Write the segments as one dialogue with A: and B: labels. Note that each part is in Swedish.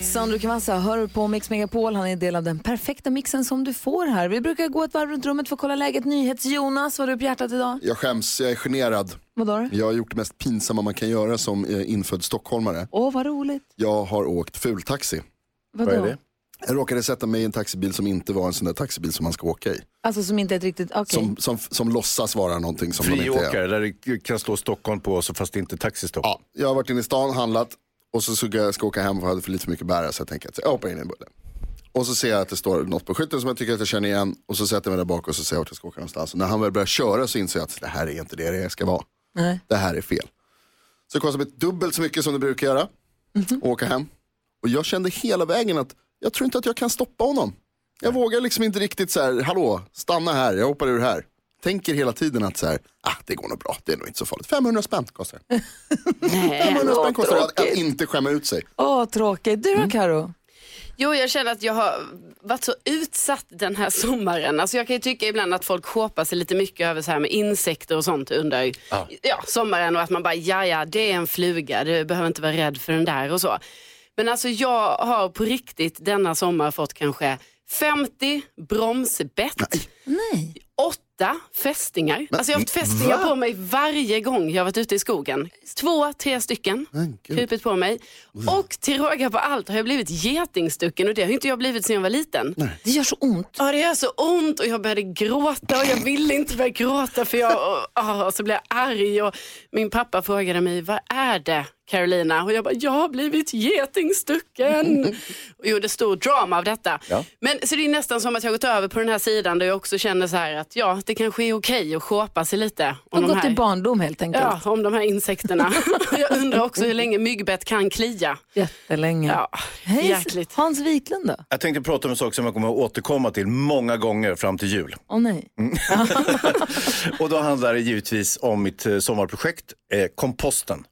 A: Sandro Cavazza hör på Mix Megapol. Han är en del av den perfekta mixen som du får här. Vi brukar gå ett varv runt rummet för att kolla läget. NyhetsJonas, vad har du på hjärtat idag?
B: Jag skäms, jag är generad.
A: Vadå? då?
B: Jag har gjort det mest pinsamma man kan göra som eh, infödd stockholmare.
A: Åh, vad roligt.
B: Jag har åkt fultaxi.
A: Vadå?
B: Jag råkade sätta mig i en taxibil som inte var en sån där taxibil som man ska åka i.
A: Alltså som inte är ett riktigt... Okej.
B: Som, som, som låtsas vara någonting som de inte är.
C: Friåkare, där det kan stå Stockholm på så fast det är inte taxistopp.
B: Ja, jag har varit inne i stan, handlat och så ska jag ska åka hem för jag hade för lite för mycket bära så jag tänker att jag hoppar in i en bulle. Och så ser jag att det står något på skylten som jag tycker att jag känner igen och så sätter jag mig där bak och så ser jag vart jag ska åka någonstans. Och när han väl börjar köra så inser jag att det här är inte det det ska vara.
A: Nej.
B: Det här är fel. Så det kostar mig dubbelt så mycket som det brukar göra att åka hem. Och jag kände hela vägen att jag tror inte att jag kan stoppa honom. Jag vågar liksom inte riktigt så här, hallå, stanna här, jag hoppar ur här. Tänker hela tiden att så här, ah, det går nog bra, det är nog inte så farligt. 500 spänn kostar det.
D: Eh,
B: 500 spänn kostar det att, att inte skämma ut sig.
A: Åh, tråkigt. Du då, Karo?
D: Jo, jag känner att jag har varit så utsatt den här sommaren. Alltså jag kan ju tycka ibland att folk hoppar sig lite mycket över så här med insekter och sånt under ja, sommaren och att man bara, ja ja, det är en fluga, du behöver inte vara rädd för den där och så. Men alltså jag har på riktigt denna sommar fått kanske 50 bromsbett,
A: Nej.
D: åtta fästingar. Alltså jag har haft fästingar på mig varje gång jag har varit ute i skogen. Två, tre stycken
B: Men gud.
D: krupit på mig. Och till råga på allt har jag blivit getingstucken och det har ju inte jag blivit sedan jag var liten.
A: Det gör så ont.
D: Ja, det gör så ont och jag började gråta och jag ville inte börja gråta för jag och, ah, och så blev jag arg och min pappa frågade mig, vad är det Carolina? Och jag bara, jag har blivit getingstucken. och gjorde stor drama av detta. Men så det är nästan som att jag har gått över på den här sidan där jag också känner så här att ja, det kanske är okej att shoppa sig lite.
A: De
D: Om
A: har
D: de
A: gått i
D: här,
A: barndom helt enkelt.
D: ja, om de här insekterna. jag undrar också hur länge myggbett kan klia.
A: Jättelänge.
D: Ja,
A: Hej,
D: jäkligt.
A: Hans Wiklund då?
C: Jag tänkte prata om en sak som jag kommer att återkomma till många gånger fram till jul.
A: Åh nej.
C: Mm. Och då handlar det givetvis om mitt eh, sommarprojekt, eh, komposten.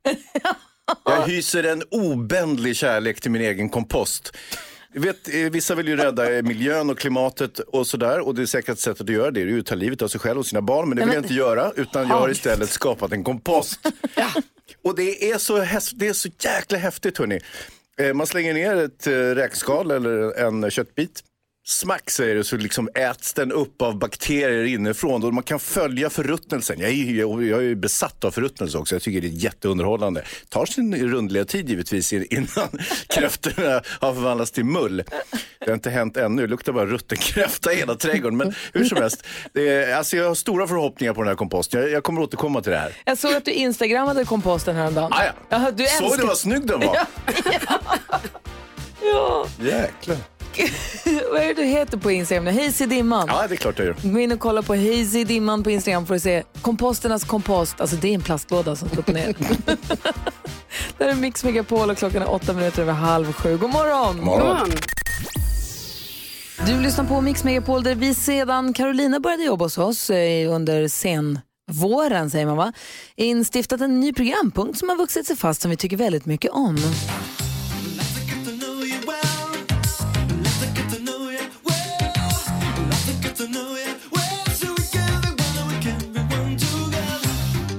C: Jag hyser en obändlig kärlek till min egen kompost. Du Vet, eh, vissa vill ju rädda eh, miljön och klimatet och sådär och det säkraste sättet att göra det är ju att ta livet av sig själv och sina barn men det vill jag inte göra utan jag har istället skapat en kompost. Och det är så, häst, det är så jäkla häftigt hörni. Eh, Man slänger ner ett eh, räkskal eller en köttbit. Smack säger det så liksom äts den upp av bakterier inifrån och man kan följa förruttnelsen. Jag är ju, jag, jag är ju besatt av förruttnelse också. Jag tycker det är jätteunderhållande. tar sin rundliga tid givetvis in- innan kräftorna har förvandlats till mull. Det har inte hänt ännu. Det luktar bara rutten kräfta i hela trädgården. Men hur som helst, det är, alltså jag har stora förhoppningar på den här komposten. Jag, jag kommer återkomma till det här.
A: Jag såg att du instagrammade komposten häromdagen.
C: Ah, ja.
A: Jaha, du
C: Såg du
A: älskar...
C: vad snygg den var?
A: Ja.
C: Jäklar.
A: vad är det du heter på Instagram nu? Hazy Dimman.
C: Ja, det är klart jag gör.
A: Gå in och kolla på Hazy Dimman på Instagram för att se komposternas kompost. Alltså det är en plastlåda som står upp och ner. det här är Mix Megapol och klockan är åtta minuter över halv sju. God morgon!
D: Kom.
A: Du lyssnar på Mix Megapol där vi sedan Carolina började jobba hos oss eh, under sen våren säger man va? Instiftat en ny programpunkt som har vuxit sig fast som vi tycker väldigt mycket om.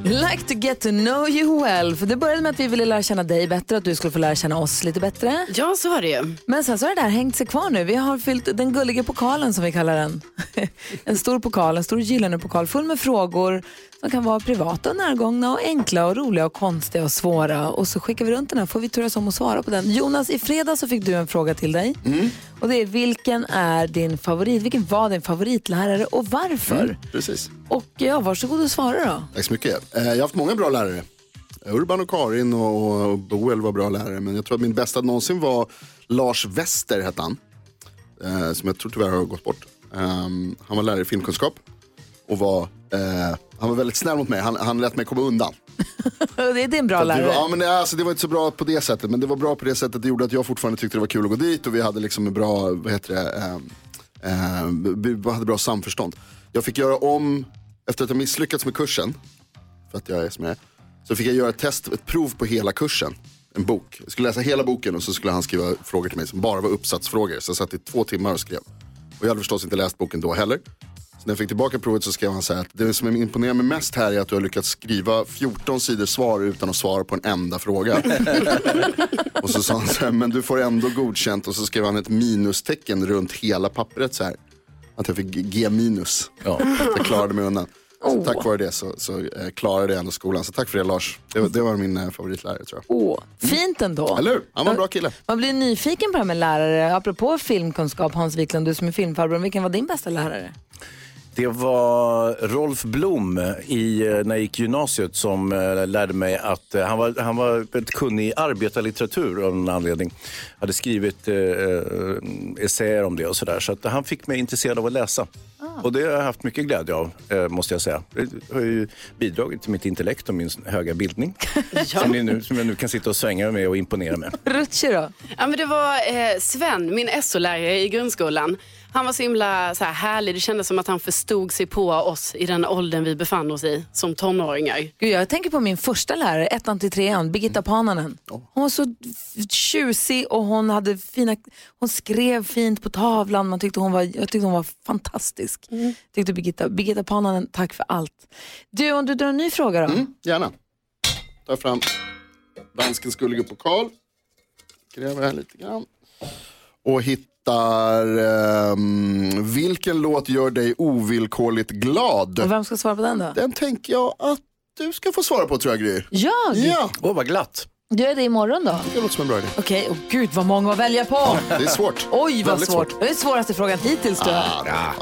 A: Like to get to know you well. För det började med att vi ville lära känna dig bättre, att du skulle få lära känna oss lite bättre.
D: Ja, så var det ju.
A: Men sen så har det där hängt sig kvar nu. Vi har fyllt den gulliga pokalen som vi kallar den. en stor pokal, en stor gyllene pokal full med frågor som kan vara privata och närgångna och enkla och roliga och konstiga och svåra. Och så skickar vi runt den här, får vi turas om att svara på den. Jonas, i fredags så fick du en fråga till dig.
B: Mm.
A: Och det är vilken är din favorit, vilken var din favoritlärare och varför?
B: Mm. Precis.
A: Och ja, varsågod och svara då.
B: Tack så mycket. Eh, Jag har haft många bra lärare. Urban och Karin och och Boel var bra lärare. Men jag tror att min bästa någonsin var Lars Wester, hette han. Eh, Som jag tror tyvärr har gått bort. Ehm, Han var lärare i filmkunskap och var Eh, han var väldigt snäll mot mig, han, han lät mig komma undan.
E: Det är din bra
B: Det
E: lärare.
B: var, ja, men det, alltså, det var inte så bra på det sättet, men det var bra på det sättet. Det gjorde att jag fortfarande tyckte det var kul att gå dit och vi hade liksom en bra, vad heter det, ehm, ehm, vi hade bra samförstånd. Jag fick göra om, efter att jag misslyckats med kursen, för att jag är som jag är, så fick jag göra ett test, ett prov på hela kursen. En bok. Jag skulle läsa hela boken och så skulle han skriva frågor till mig som bara var uppsatsfrågor. Så jag satt i två timmar och skrev. Och jag hade förstås inte läst boken då heller. Så när jag fick tillbaka provet så skrev han så här att det som imponerar mig mest här är att du har lyckats skriva 14 sidor svar utan att svara på en enda fråga. och så sa han så här, men du får ändå godkänt. Och så skrev han ett minustecken runt hela pappret så här. Att jag fick G minus.
C: Ja.
B: Jag klarade mig undan. Så tack vare det så, så eh, klarade jag ändå skolan. Så tack för det Lars. Det, var- det var min eh, favoritlärare tror jag.
A: Åh, fint ändå.
B: Eller hur? Han var en bra kille.
A: Man blir nyfiken på det här med lärare. Apropå filmkunskap, Hans Wiklund, du som är filmfarbrorn, vilken var din bästa lärare?
C: Det var Rolf Blom i, eh, när jag gick gymnasiet som eh, lärde mig att eh, han, var, han var väldigt kunnig i arbetarlitteratur av någon anledning. Hade skrivit eh, eh, essäer om det och sådär. Så att han fick mig intresserad av att läsa. Och det har jag haft mycket glädje av, eh, måste jag säga. Det har ju bidragit till mitt intellekt och min höga bildning. som, ni nu, som jag nu kan sitta och svänga med och imponera med.
A: Rutschi då?
D: Ja, men det var eh, Sven, min SO-lärare i grundskolan. Han var så himla så här, härlig. Det kändes som att han förstod sig på oss i den åldern vi befann oss i som tonåringar.
A: Gud, jag tänker på min första lärare, ettan till trean, Birgitta Pananen. Hon var så f- tjusig och hon, hade fina, hon skrev fint på tavlan. Man tyckte hon var, jag tyckte hon var fantastisk. Tyckte Birgitta, Birgitta Pananen, tack för allt. Du, om du drar en ny fråga då?
B: Gärna. Ta fram danskens gulliga pokal. Gräver här lite grann. Och hittar ehm, vilken låt gör dig ovillkorligt
A: Och
B: glad?
A: vem ska svara på den då?
B: Den tänker jag att du ska få svara på tror jag Gry.
A: Jag?
B: Ja,
C: Åh, vad glatt.
A: Gör jag det imorgon då?
B: det låter som en bra idé.
A: Okej, och gud vad många att välja på.
B: Det är svårt.
A: Oj vad
B: Väldigt
A: svårt. Det är svåraste frågan hittills tror jag.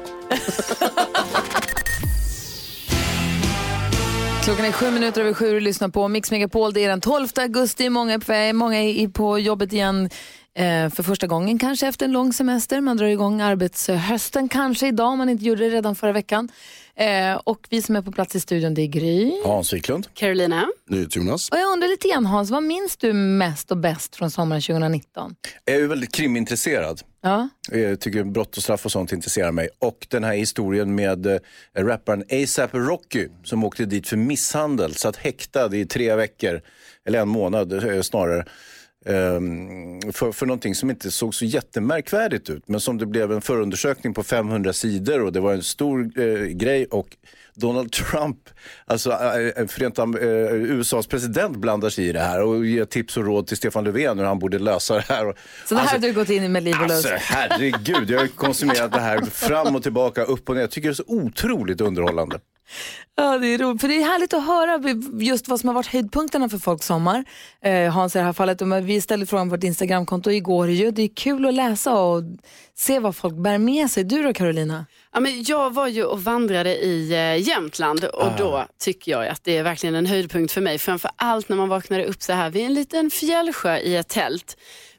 A: Klockan är sju minuter över sju och lyssnar på Mix Megapol. Det är den 12 augusti. Många är på, väg, många är i- på jobbet igen eh, för första gången kanske efter en lång semester. Man drar igång arbetshösten kanske idag om man inte gjorde det redan förra veckan. Eh, och vi som är på plats i studion det är Gry.
C: Hans Wiklund.
D: Carolina?
B: NyhetsJonas.
A: Och jag undrar lite grann Hans, vad minns du mest och bäst från sommaren 2019?
C: Jag är ju väldigt krimintresserad.
A: Ja,
C: Jag Eh, tycker brott och straff och sånt intresserar mig. Och den här historien med eh, rapparen ASAP Rocky som åkte dit för misshandel, satt häktad i tre veckor, eller en månad eh, snarare. ehm, för, för någonting som inte såg så jättemärkvärdigt ut men som det blev en förundersökning på 500 sidor och det var en stor eh, grej och Donald Trump, alltså eh, Förenta, eh, USAs president blandar sig i det här och ger tips och råd till Stefan Löfven hur han borde lösa det här.
A: så det här
C: Alltså,
A: har du gått in i med liv och lust.
C: Alltså herregud, jag har ju konsumerat det här fram och tillbaka, upp och ner. Jag tycker det är så otroligt underhållande.
A: Ja, det är roligt. För det är härligt att höra just vad som har varit höjdpunkterna för folks sommar. Eh, Hans i det här fallet. Och Vi ställde frågan på vårt Instagramkonto igår ju. Det är kul att läsa och se vad folk bär med sig. Du då Carolina?
D: Ja, men jag var ju och vandrade i eh, Jämtland och
C: Ah.
D: då tycker jag att det är verkligen en höjdpunkt för mig. Framför allt när man vaknade upp så här vid en liten fjällsjö i ett tält.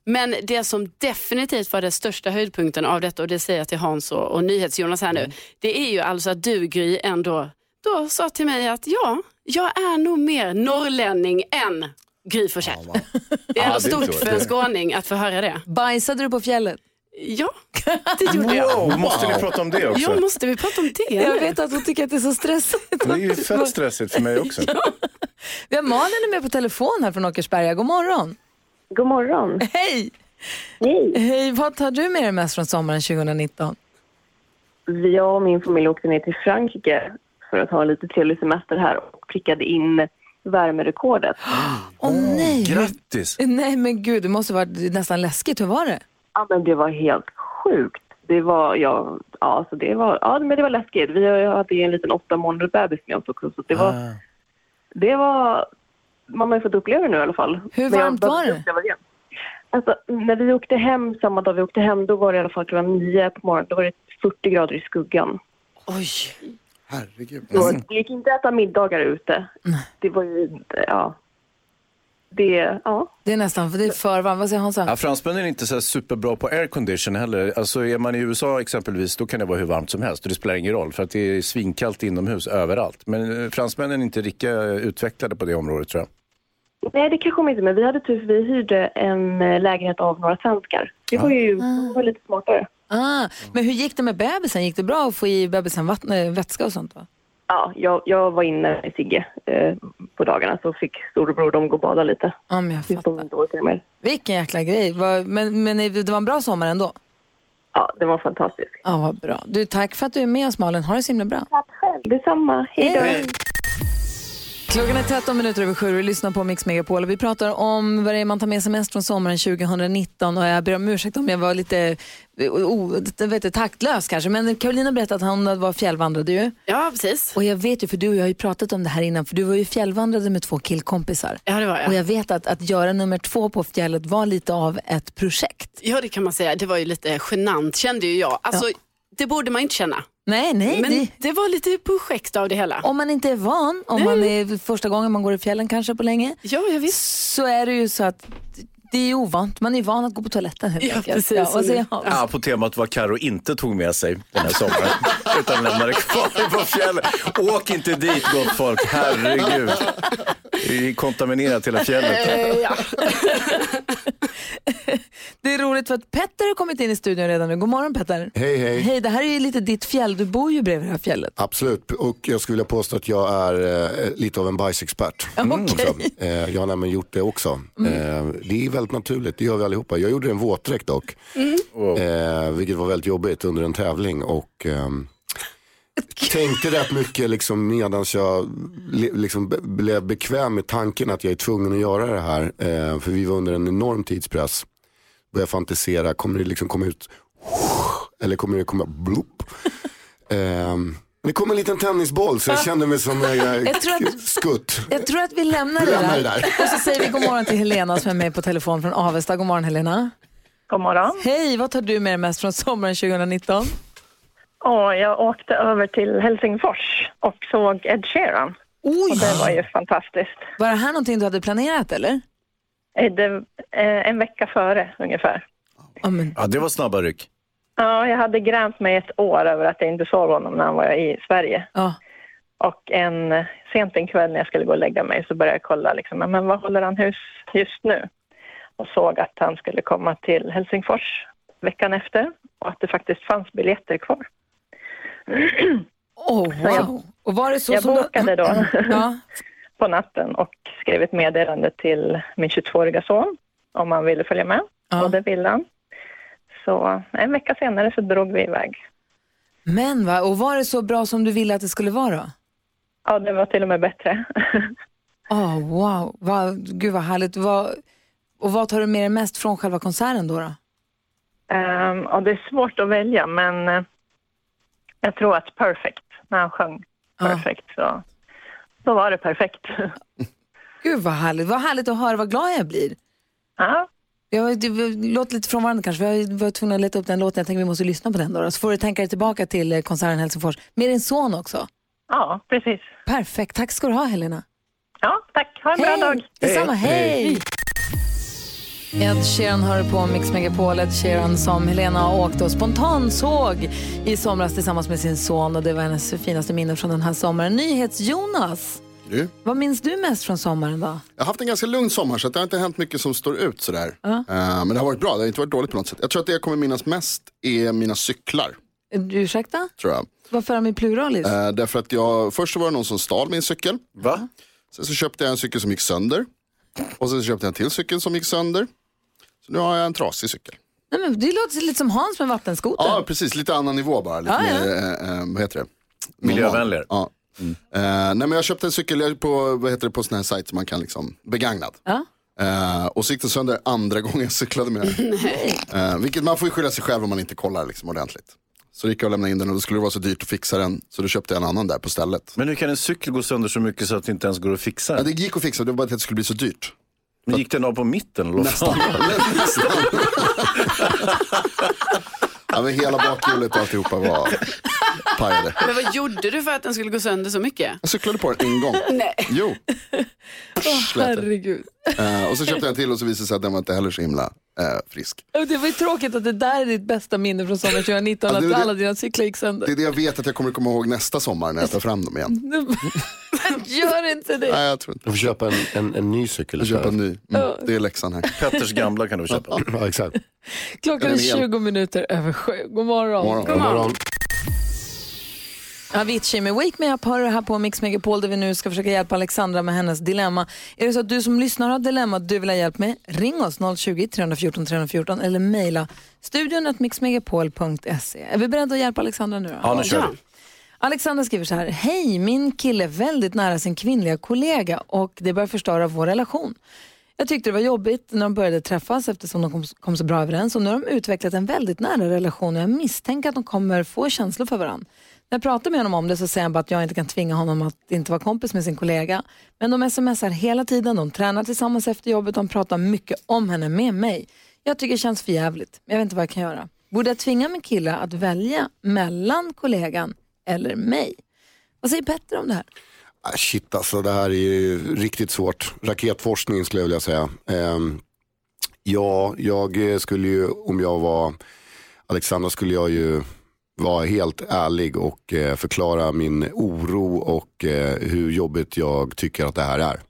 D: Men det som definitivt var den största höjdpunkten av detta och det säger jag till Hans och, och NyhetsJonas här nu.
C: Mm.
D: Det är ju alltså att du Gry ändå då sa till mig att ja, jag är nog mer norrlänning än Gry Forssell. Det är ändå
C: Ja, det
D: stort
C: tror jag.
D: för en skåning att få höra det.
A: Bajsade du på fjället?
D: Ja, det gjorde jag.
C: Wow, måste ni prata om det
D: Ja,
C: också?
D: måste vi prata om det? nu?
A: Jag vet att hon tycker att det är så stressigt.
C: Det är ju fett stressigt för mig också.
A: Vi har Malin är med på telefon här från Åkersberga. God morgon!
F: God morgon.
A: Hej!
F: Hej.
A: Hej, vad tar du med dig mest från sommaren 2019?
F: Jag och min familj åkte ner till Frankrike för att ha en lite trevlig semester här och prickade in värmerekordet.
A: Åh nej!
C: Grattis!
A: Nej men gud, det måste varit nästan läskigt. Hur var det?
F: Ja, men det var helt sjukt. Det var, ja, ja, så det var, ja, men det var läskigt. Vi har- jag hade ju en liten åtta månader bebis med oss också, så det var, det var, man har ju fått uppleva det nu i alla fall.
A: Hur
F: Men jag
A: varmt
F: behöver
A: var det?
F: inte uppleva igen. Alltså, när vi åkte hem samma dag vi åkte hem, då var det i alla fall klockan nio på morgonen, då var det 40 grader i skuggan.
B: Herregud.
F: Så det gick inte att äta middagar ute. Det var ju, ja. det, ja.
A: Det är nästan det är för varmt. Vad säger Hansa?
C: Ja, fransmännen är inte så här superbra på aircondition heller. Alltså är man i USA exempelvis, då kan det vara hur varmt som helst och det spelar ingen roll för att det är svinkallt inomhus överallt. Men eh, fransmännen är inte lika utvecklade på det området tror jag.
F: Nej, det kanske de inte, men vi hade tur för vi hyrde en eh, lägenhet av några svenskar. Det var ju det var lite smartare.
A: Ah, men hur gick det med bebisen? Gick det bra att få i bebisen vatten, eh, vätska och sånt? Va?
F: Ja, jag, jag var inne med Sigge eh, på dagarna så fick storebror dem gå och bada lite.
A: Ja, men jag
F: Tills de
A: fattar.
F: inte orkade mer.
A: Vilken jäkla grej. Vad- Men, men det var en bra sommar ändå?
F: Ja, det var fantastiskt.
A: Ja, vad bra. Du, tack för att du är med oss Malin. Ha det så himla bra.
F: Tack själv. Detsamma. Hej då.
A: Klockan är 13 minuter över sju och du lyssnar på Mix Megapol. Och vi pratar om vad det är man tar med sig mest från sommaren 2019. Och jag ber om ursäkt om jag var lite o, jag vet, inte, taktlös kanske. Men Carolina berättade att hon var fjällvandrade ju.
D: Ja, precis.
A: Och jag vet ju, för du och jag har ju pratat om det här innan, för du var ju fjällvandrade med två killkompisar.
D: Ja, det var
A: Och
D: jag.
A: jag vet att att göra nummer två på fjället var lite av ett projekt.
D: Ja, det kan man säga. Det var ju lite genant kände ju jag. Alltså, det borde man inte känna.
A: Nej, nej,
D: Men
A: det,
D: det var lite projekt av det hela.
A: om man inte är van, om man är första gången man går i fjällen kanske på länge,
D: Ja, jag visst.
A: så är det ju så att det är ovant. Man är van att gå på toaletten helt
D: Ja,
A: enkelt.
D: precis.
A: Ja, vad säger Hans?
C: Ja, på temat vad Karo inte tog med sig den här sommaren. utan lämnade kvar på fjällen. Åk inte dit gott folk, herregud. Det är kontaminerat hela fjället.
A: Det är roligt för att Petter har kommit in i studion redan nu. God morgon Petter.
B: Hej, hej.
A: Hej, det här är ju lite ditt fjäll. Du bor ju bredvid det här fjället.
B: Absolut, och jag skulle vilja påstå att jag är eh, lite av en bajsexpert.
A: okej.
B: Så, eh, jag har nämligen gjort det också. Eh, det är väldigt naturligt, det gör vi allihopa. Jag gjorde en våtdräkt dock, eh, vilket var väldigt jobbigt under en tävling. Och, ehm, Tänkte rätt mycket liksom medan jag le- liksom be- blev bekväm med tanken att jag är tvungen att göra det här. Eh, för vi var under en enorm tidspress. Började fantisera, kommer det liksom komma ut eller kommer det komma bloop? Ehm, det kom en liten tennisboll så jag kände mig som en eh,
A: Jag tror att-
B: skutt.
A: Jag tror att vi lämnar det
B: Lämnar
A: där.
B: det där.
A: Och så säger vi god morgon till Helena som är med på telefon från Avesta. God morgon Helena.
F: God morgon.
A: Hej, vad tar du med dig mest från sommaren 2019?
F: Åh, jag åkte över till Helsingfors och såg Ed Sheeran.
A: Oj!
F: Det var ju fantastiskt.
A: Var det här någonting du hade planerat eller?
F: Eh, Det, eh, en vecka före ungefär.
A: Ja, men,
C: Ja, det var snabba ryck.
F: Ja, jag hade grämt mig ett år över att jag inte såg honom när han var i Sverige.
A: ja.
F: Och en, eh, sent en kväll när jag skulle gå och lägga mig så började jag kolla liksom, "Ja, men vad håller han hus just nu? Och såg att han skulle komma till Helsingfors veckan efter och att det faktiskt fanns biljetter kvar.
A: Oh, wow. Och var det så
F: jag
A: som
F: bokade
A: du...
F: då.
A: Ja.
F: på natten och skrev ett meddelande till min 22-åriga son om han ville följa med.
A: Ja.
F: Och det ville han. Så en vecka senare så drog vi iväg.
A: Men va, och var det så bra som du ville att det skulle vara? då?
F: Ja, det var till och med bättre.
A: Åh, wow. Va, gud vad härligt. Va, och vad tar du med dig mest från själva konserten då? då?
F: Ehm, och det är svårt att välja, men eh, jag tror att perfekt, när han sjöng
A: Ja.
F: perfekt, så, så var det perfekt.
A: Gud vad härligt. Vad härligt att höra, vad glad jag blir.
F: ja,
A: Jag, var- det, vi låter lite från varandra kanske. Vi var tvungna att leta upp den låten. Jag tänker vi måste lyssna på den då. då. Så får du tänka dig tillbaka till eh, konserten i Helsingfors. Med din son också.
F: ja, precis.
A: Perfekt. Tack ska du ha Helena.
F: Ja, tack. Ha en bra dag.
A: Detsamma, hej! Ed Sheeran hör på Mix Megapol, Ed Sheeran som Helena åkte och spontant såg i somras tillsammans med sin son och det var hennes finaste minne från den här sommaren. NyhetsJonas,
G: Du?
A: vad minns du mest från sommaren då?
G: Jag har haft en ganska lugn sommar så att det har inte hänt mycket som står ut sådär. Eh, men det har varit bra, det har inte varit dåligt på något sätt. Jag tror att det jag kommer minnas mest är mina cyklar.
A: Eh, Ursäkta?
G: Tror jag.
A: Varför är de i pluralis?
G: Eh, därför att jag, först så var det någon som stal min cykel.
C: Va?
G: Sen så köpte jag en cykel som gick sönder. Och sen så köpte jag en till cykel som gick sönder. Så nu har jag en trasig cykel.
A: Nej, men det låter lite som Hans med vattenskotern.
G: Ja, precis. Lite annan nivå bara. Lite
A: Ja, ja.
G: mer, eh, eh, vad heter det?
C: Miljövänligare.
G: Ja. Eh, nej, men jag köpte en cykel jag är på, vad heter det, på sån här sajt som man kan liksom, begagnad.
A: Ja.
G: Eh, och så gick den sönder andra gången jag cyklade med den. Eh, vilket man får ju skylla sig själv om man inte kollar liksom, ordentligt. Så gick jag och lämnade in den och då skulle det vara så dyrt att fixa den så då köpte jag en annan där på stället.
C: Men hur kan en cykel gå sönder så mycket så att det inte ens går att fixa
G: Ja,
C: den?
G: det gick att fixa, det var bara att det skulle bli så dyrt.
C: Men gick den av på mitten? Eller? vad fan?
G: Ja, men hela bakhjulet och alltihopa var... pajade.
D: Men vad gjorde du för att den skulle gå sönder så mycket?
G: Jag cyklade på den en gång.
D: Nej.
G: Jo. Psch, lät det.
A: Herregud.
G: Eh, och så köpte jag en till och så visade det sig att den var inte heller så himla eh, frisk.
A: Det var ju tråkigt att det där är ditt bästa minne från sommaren 2019,
G: Ja, det
A: att
G: var det-
A: alla dina cyklar gick
G: Det
A: sönder.
G: är det jag vet att jag kommer komma ihåg nästa sommar när jag tar fram dem igen.
A: Gör inte det.
G: Nej, jag tror inte.
B: Du får köpa en, en, en ny cykel.
G: Jag köper en
B: istället.
G: ny. Mm, det är läxan här.
C: Petters gamla kan du köpa.
B: Ja, exakt.
A: Klockan är
G: Eller en el.
A: 20 minuter över sju. God morgon.
G: Morgon.
B: God morgon.
A: Avicii med Wake Me Up har du här på Mix Megapol där vi nu ska försöka hjälpa Alexandra med hennes dilemma. Är det så att du som lyssnar har ett dilemma du vill ha hjälp med, ring oss 020-314 314 eller mejla studion mixmegapol.se. Är vi beredda att hjälpa Alexandra nu då?
C: Ja, nu kör vi.
A: Alexandra skriver så här. Hej, min kille är väldigt nära sin kvinnliga kollega och det börjar förstöra vår relation. Jag tyckte det var jobbigt när de började träffas eftersom de kom, kom så bra överens och nu har de utvecklat en väldigt nära relation och jag misstänker att de kommer få känslor för varandra. När jag pratar med honom om det så säger han bara att jag inte kan tvinga honom att inte vara kompis med sin kollega. Men de smsar hela tiden, de tränar tillsammans efter jobbet, de pratar mycket om henne med mig. Jag tycker det känns för jävligt, men jag vet inte vad jag kan göra. Borde jag tvinga min kille att välja mellan kollegan eller mig? Vad säger Petter om det här?
B: Ah, Shit alltså, det här är ju riktigt svårt. Raketforskning skulle jag vilja säga. Ehm, ja, jag eh, skulle ju, om jag var Alexandra, skulle jag ju vara helt ärlig och eh, förklara min oro och eh, hur jobbigt jag tycker att det här är.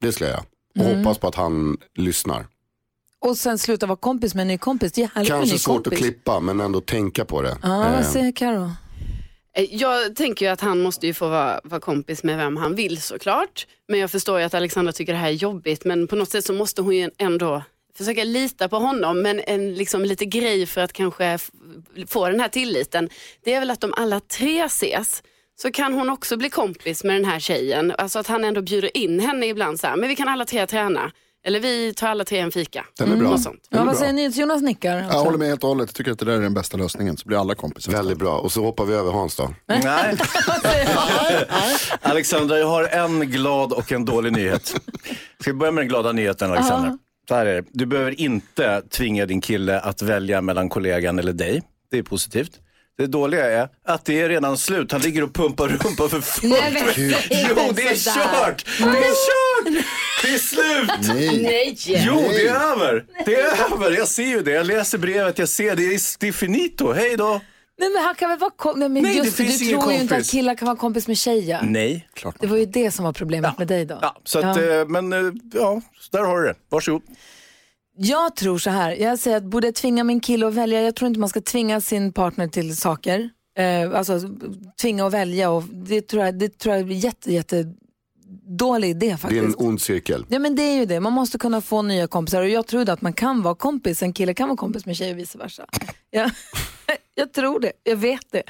B: Det skulle jag göra. Och
A: Mm.
B: hoppas på att han lyssnar.
A: Och sen sluta vara kompis med en ny kompis. Det är härligt med en
B: Kanske
A: ny
B: svårt
A: kompis.
B: att klippa, men ändå tänka på det.
A: Ja,
B: Ehm,
A: vad säger Karo?
D: Eh, Jag tänker ju att han måste ju få vara, vara kompis med vem han vill såklart. Men jag förstår ju att Alexandra tycker det här är jobbigt. Men på något sätt så måste hon ju ändå försöka lita på honom. Men en liksom lite grej för att kanske f- få den här tilliten. Det är väl att om alla tre ses så kan hon också bli kompis med den här tjejen. Alltså att han ändå bjuder in henne ibland så här. Men vi kan alla tre träna. Eller vi tar alla tre en fika.
G: Den är bra.
D: Och sånt.
A: Mm. Ja, vad säger ni? Jonas nickar.
G: Jag håller med helt och hållet. Jag tycker att det där är den bästa lösningen. Så blir alla kompisar.
B: Väldigt bra. Och så hoppar vi över Hans då.
C: Nej. Alexandra, jag har en glad och en dålig nyhet. Ska vi börja med den glada nyheten, Alexandra? Så här är det. Du behöver inte tvinga din kille att välja mellan kollegan eller dig. Det är positivt. Det dåliga är att det är redan slut. Han ligger och pumpar rumpa för fullt.
H: Nej, men säg
C: Jo,
H: inte
C: det är
H: sådär.
C: kört! Det är kört! Det är slut!
H: Nej!
C: Jo, det är över! Det är över! Jag ser ju det. Jag läser brevet, jag ser det. Det är- Det är finito. Hej då!
A: Nej men han kan väl vara kompis? Nej men
C: Nej, det
A: just det, du
C: finns
A: tror
C: ingen
A: ju inte att
C: kompis.
A: killar kan vara kompis med tjejer.
C: Nej.
A: Det var ju det som var problemet med dig då.
C: Ja, så att,
A: Ja.
C: eh, men eh, ja, så där har du det. Varsågod.
B: Mm,
A: Jag tror så här, jag säger att borde jag tvinga min kille att välja? Jag tror inte man ska tvinga sin partner till saker. Eh, alltså tvinga att välja och det tror jag, det tror jag är en jätte, jätte dålig idé
B: Det är
A: faktiskt.
B: en ond cirkel.
A: Ja men det är ju det, man måste kunna få nya kompisar och jag tror då att man kan vara kompis, en kille kan vara kompis med tjej och vice versa. Jag, jag tror det, jag vet det.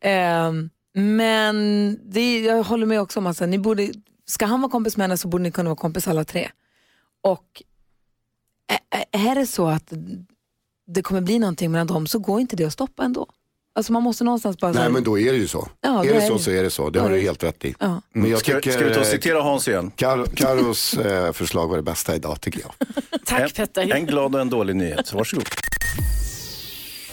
A: Ehm, men det, är- jag håller med också om att så här, ni borde, ska han vara kompis med henne så borde ni kunna vara kompis alla tre. Och ä- ä- är det så att det kommer bli någonting mellan dem så går inte det att stoppa ändå. Alltså man måste någonstans bara... så här-
B: Nej men då är det ju så.
A: Ja, då
B: är det
A: är
B: så
A: det.
B: så är det så. Det har
A: Ja.
B: du helt rätt i.
A: Ja.
B: Men jag
C: Ska,
B: tycker
C: ska vi ta och
B: eh,
C: citera Hans igen?
B: Kar- Karos eh, förslag var det bästa idag tycker jag.
D: Tack
C: En,
D: Petter.
C: en glad och en dålig nyhet. Varsågod.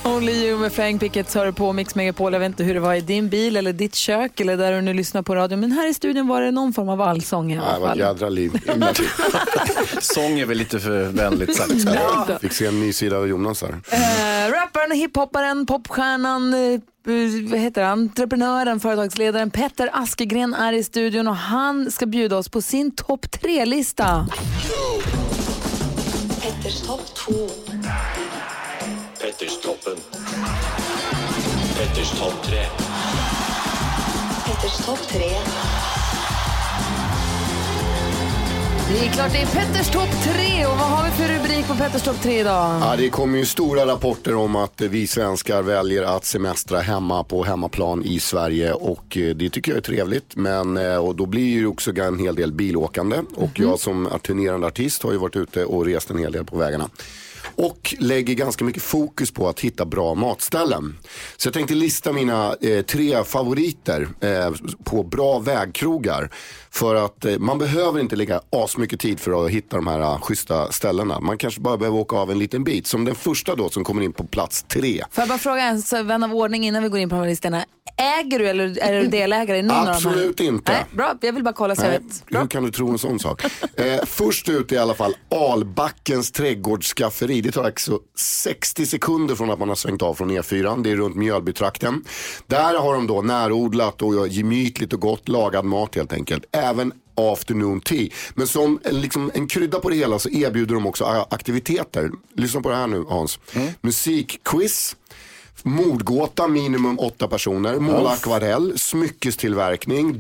A: Only you med Frank Pickett hör på Mix Megapol. Jag vet inte hur det var i din bil eller ditt kök eller där du nu lyssnar på radio. Men här i studion var det någon form av allsång i
B: Nej,
A: alla
B: vad ett
A: fall.
B: jädra liv. Himla kul.
C: Sång är väl lite för vänligt sagt.
B: Fick se en ny sida av Jonas här.
A: Äh, rapparen, hiphopparen, popstjärnan, eh, vad heter han? entreprenören, företagsledaren Petter Askegren är i studion och han ska bjuda oss på sin topp tre-lista.
I: Petterstoppen. Petters topp tre.
A: Det är klart det är Petters topp tre och vad har vi för rubrik på Petters topp tre idag?
B: Ja, det kommer ju stora rapporter om att eh, vi svenskar väljer att semestra hemma på hemmaplan i Sverige och eh, det tycker jag är trevligt. Men, eh, och då blir ju också en hel del bilåkande och jag som turnerande artist har ju varit ute och rest en hel del på vägarna. Och lägger ganska mycket fokus på att hitta bra matställen. Så jag tänkte lista mina eh, tre favoriter eh, på bra vägkrogar. För att eh, man behöver inte lägga asmycket tid för att hitta de här eh, schyssta ställena. Man kanske bara behöver åka av en liten bit. Som den första då som kommer in på plats tre.
H: Får jag bara fråga en så vän av ordning innan vi går in på de här listorna. Äger du eller är du delägare i någon av de här?
B: Absolut inte.
H: Nej, bra, jag vill bara kolla så jag
B: Nej,
H: vet.
B: hur kan du tro en sån sak? Eh, först ut är i alla fall Albackens trädgårdsskafferi. Det tar alltså 60 sekunder från att man har svängt av från E4. Det är runt Mjölbytrakten. Där har de då närodlat och gemytligt och gott lagad mat helt enkelt. Även afternoon tea. Men som en, liksom, en krydda på det hela så erbjuder de också a- aktiviteter. Lyssna på det här nu Hans. Musikquiz. Mordgåta, minimum åtta personer. Måla akvarell, smyckestillverkning,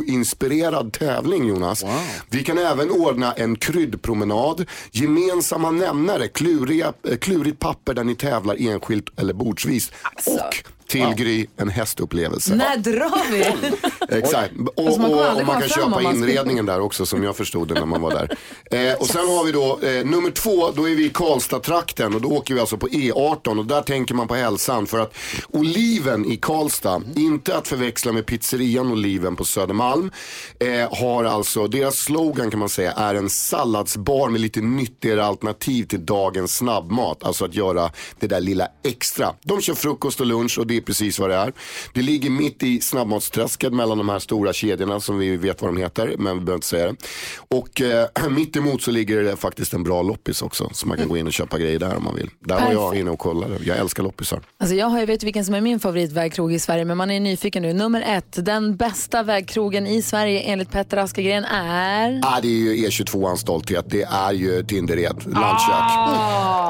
B: Doobidoo-inspirerad tävling Jonas. Vi kan även ordna en kryddpromenad, gemensamma nämnare, kluriga, eh, klurigt papper där ni tävlar enskilt eller bordsvis. Och till Gry, en hästupplevelse.
H: När drar vi?
B: Exakt. Och,
H: Alltså, man
B: och,
H: kommer aldrig
B: och man
H: komma fram om
B: kan köpa
H: man skulle-
B: inredningen där också som jag förstod det när man var där. Eh, och sen har vi då eh, nummer två, då är vi i Karlstad-trakten och då åker vi alltså på E18 och där tänker man på hälsan för att Oliven i Karlstad, inte att förväxla med pizzerian Oliven på Södermalm, eh, har alltså, deras slogan kan man säga är en salladsbar med lite nyttigare alternativ till dagens snabbmat. Alltså att göra det där lilla extra. De kör frukost och lunch och det är precis vad det är. Det ligger mitt i snabbmatsträsket mellan de här stora kedjorna som vi vet vad de heter, men vi behöver inte säga det. Och eh, mitt emot så ligger det faktiskt en bra loppis också, så man kan gå in och köpa grejer där om man vill. Där var jag inne och kollade, jag älskar loppisar.
H: Alltså jag har ju vet vilken som är min favoritvägkrog i Sverige, men man är ju nyfiken nu. Nummer ett, den bästa vägkrogen i Sverige enligt Petter Askegren är...
B: Ah, det är ju E22 stolthet, det är ju Tindered, landskök.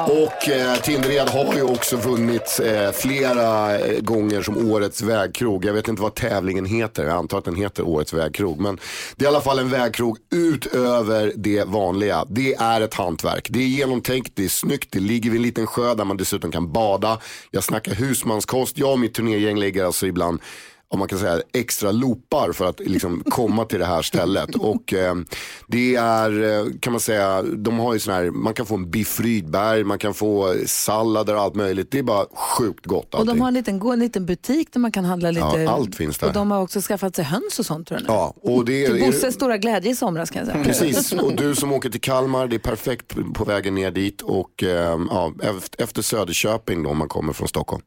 B: Och eh, Tindered har ju också vunnit eh, flera eh, gånger som årets vägkrog. Jag vet inte vad tävlingen heter, jag antar att den heter årets vägkrog. Men det är i alla fall en vägkrog utöver det vanliga. Det är ett hantverk, det är genomtänkt, det är snyggt, det ligger vid en liten sjö där man dessutom kan bada. Jag snackar husmanskost, jag och mitt turnégäng lägger alltså ibland om man kan säga extra loopar för att liksom komma till det här stället. Och eh, det är, eh, kan man säga, de har ju sån här, man kan få en biff Rydberg, man kan få sallader och allt möjligt. Det är bara sjukt gott
H: Och
B: allting.
H: de har en liten, gå- en liten butik där man kan handla lite.
B: Ja, allt finns där.
H: Och de har också skaffat sig höns och sånt tror jag nu.
B: Ja, och det är,
H: Till
B: är,
H: Bosses stora glädje i somras kan jag säga.
B: Precis, och du som åker till Kalmar, det är perfekt på vägen ner dit och eh, ja, eft- efter Söderköping då om man kommer från Stockholm.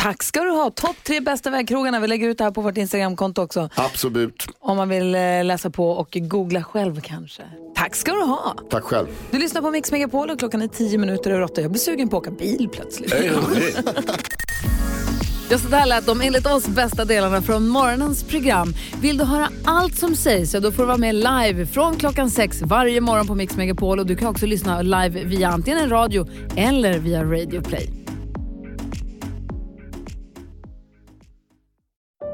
H: Tack ska du ha. Topp tre bästa vägkrogarna. Vi lägger ut det här på vårt Instagramkonto också.
B: Absolut,
H: Om man vill eh, läsa på och googla själv kanske. Tack ska du ha.
B: tack själv.
H: Du lyssnar på Mix Megapol och klockan är tio minuter över åtta. Jag blir sugen på att åka bil plötsligt.
C: Jag är hungrig.
A: Ja, så där lät de enligt oss bästa delarna från morgonens program. Vill du höra allt som sägs, ja, då får du vara med live från klockan sex varje morgon på Mix Megapol. Och du kan också lyssna live via antingen radio eller via Radio Play.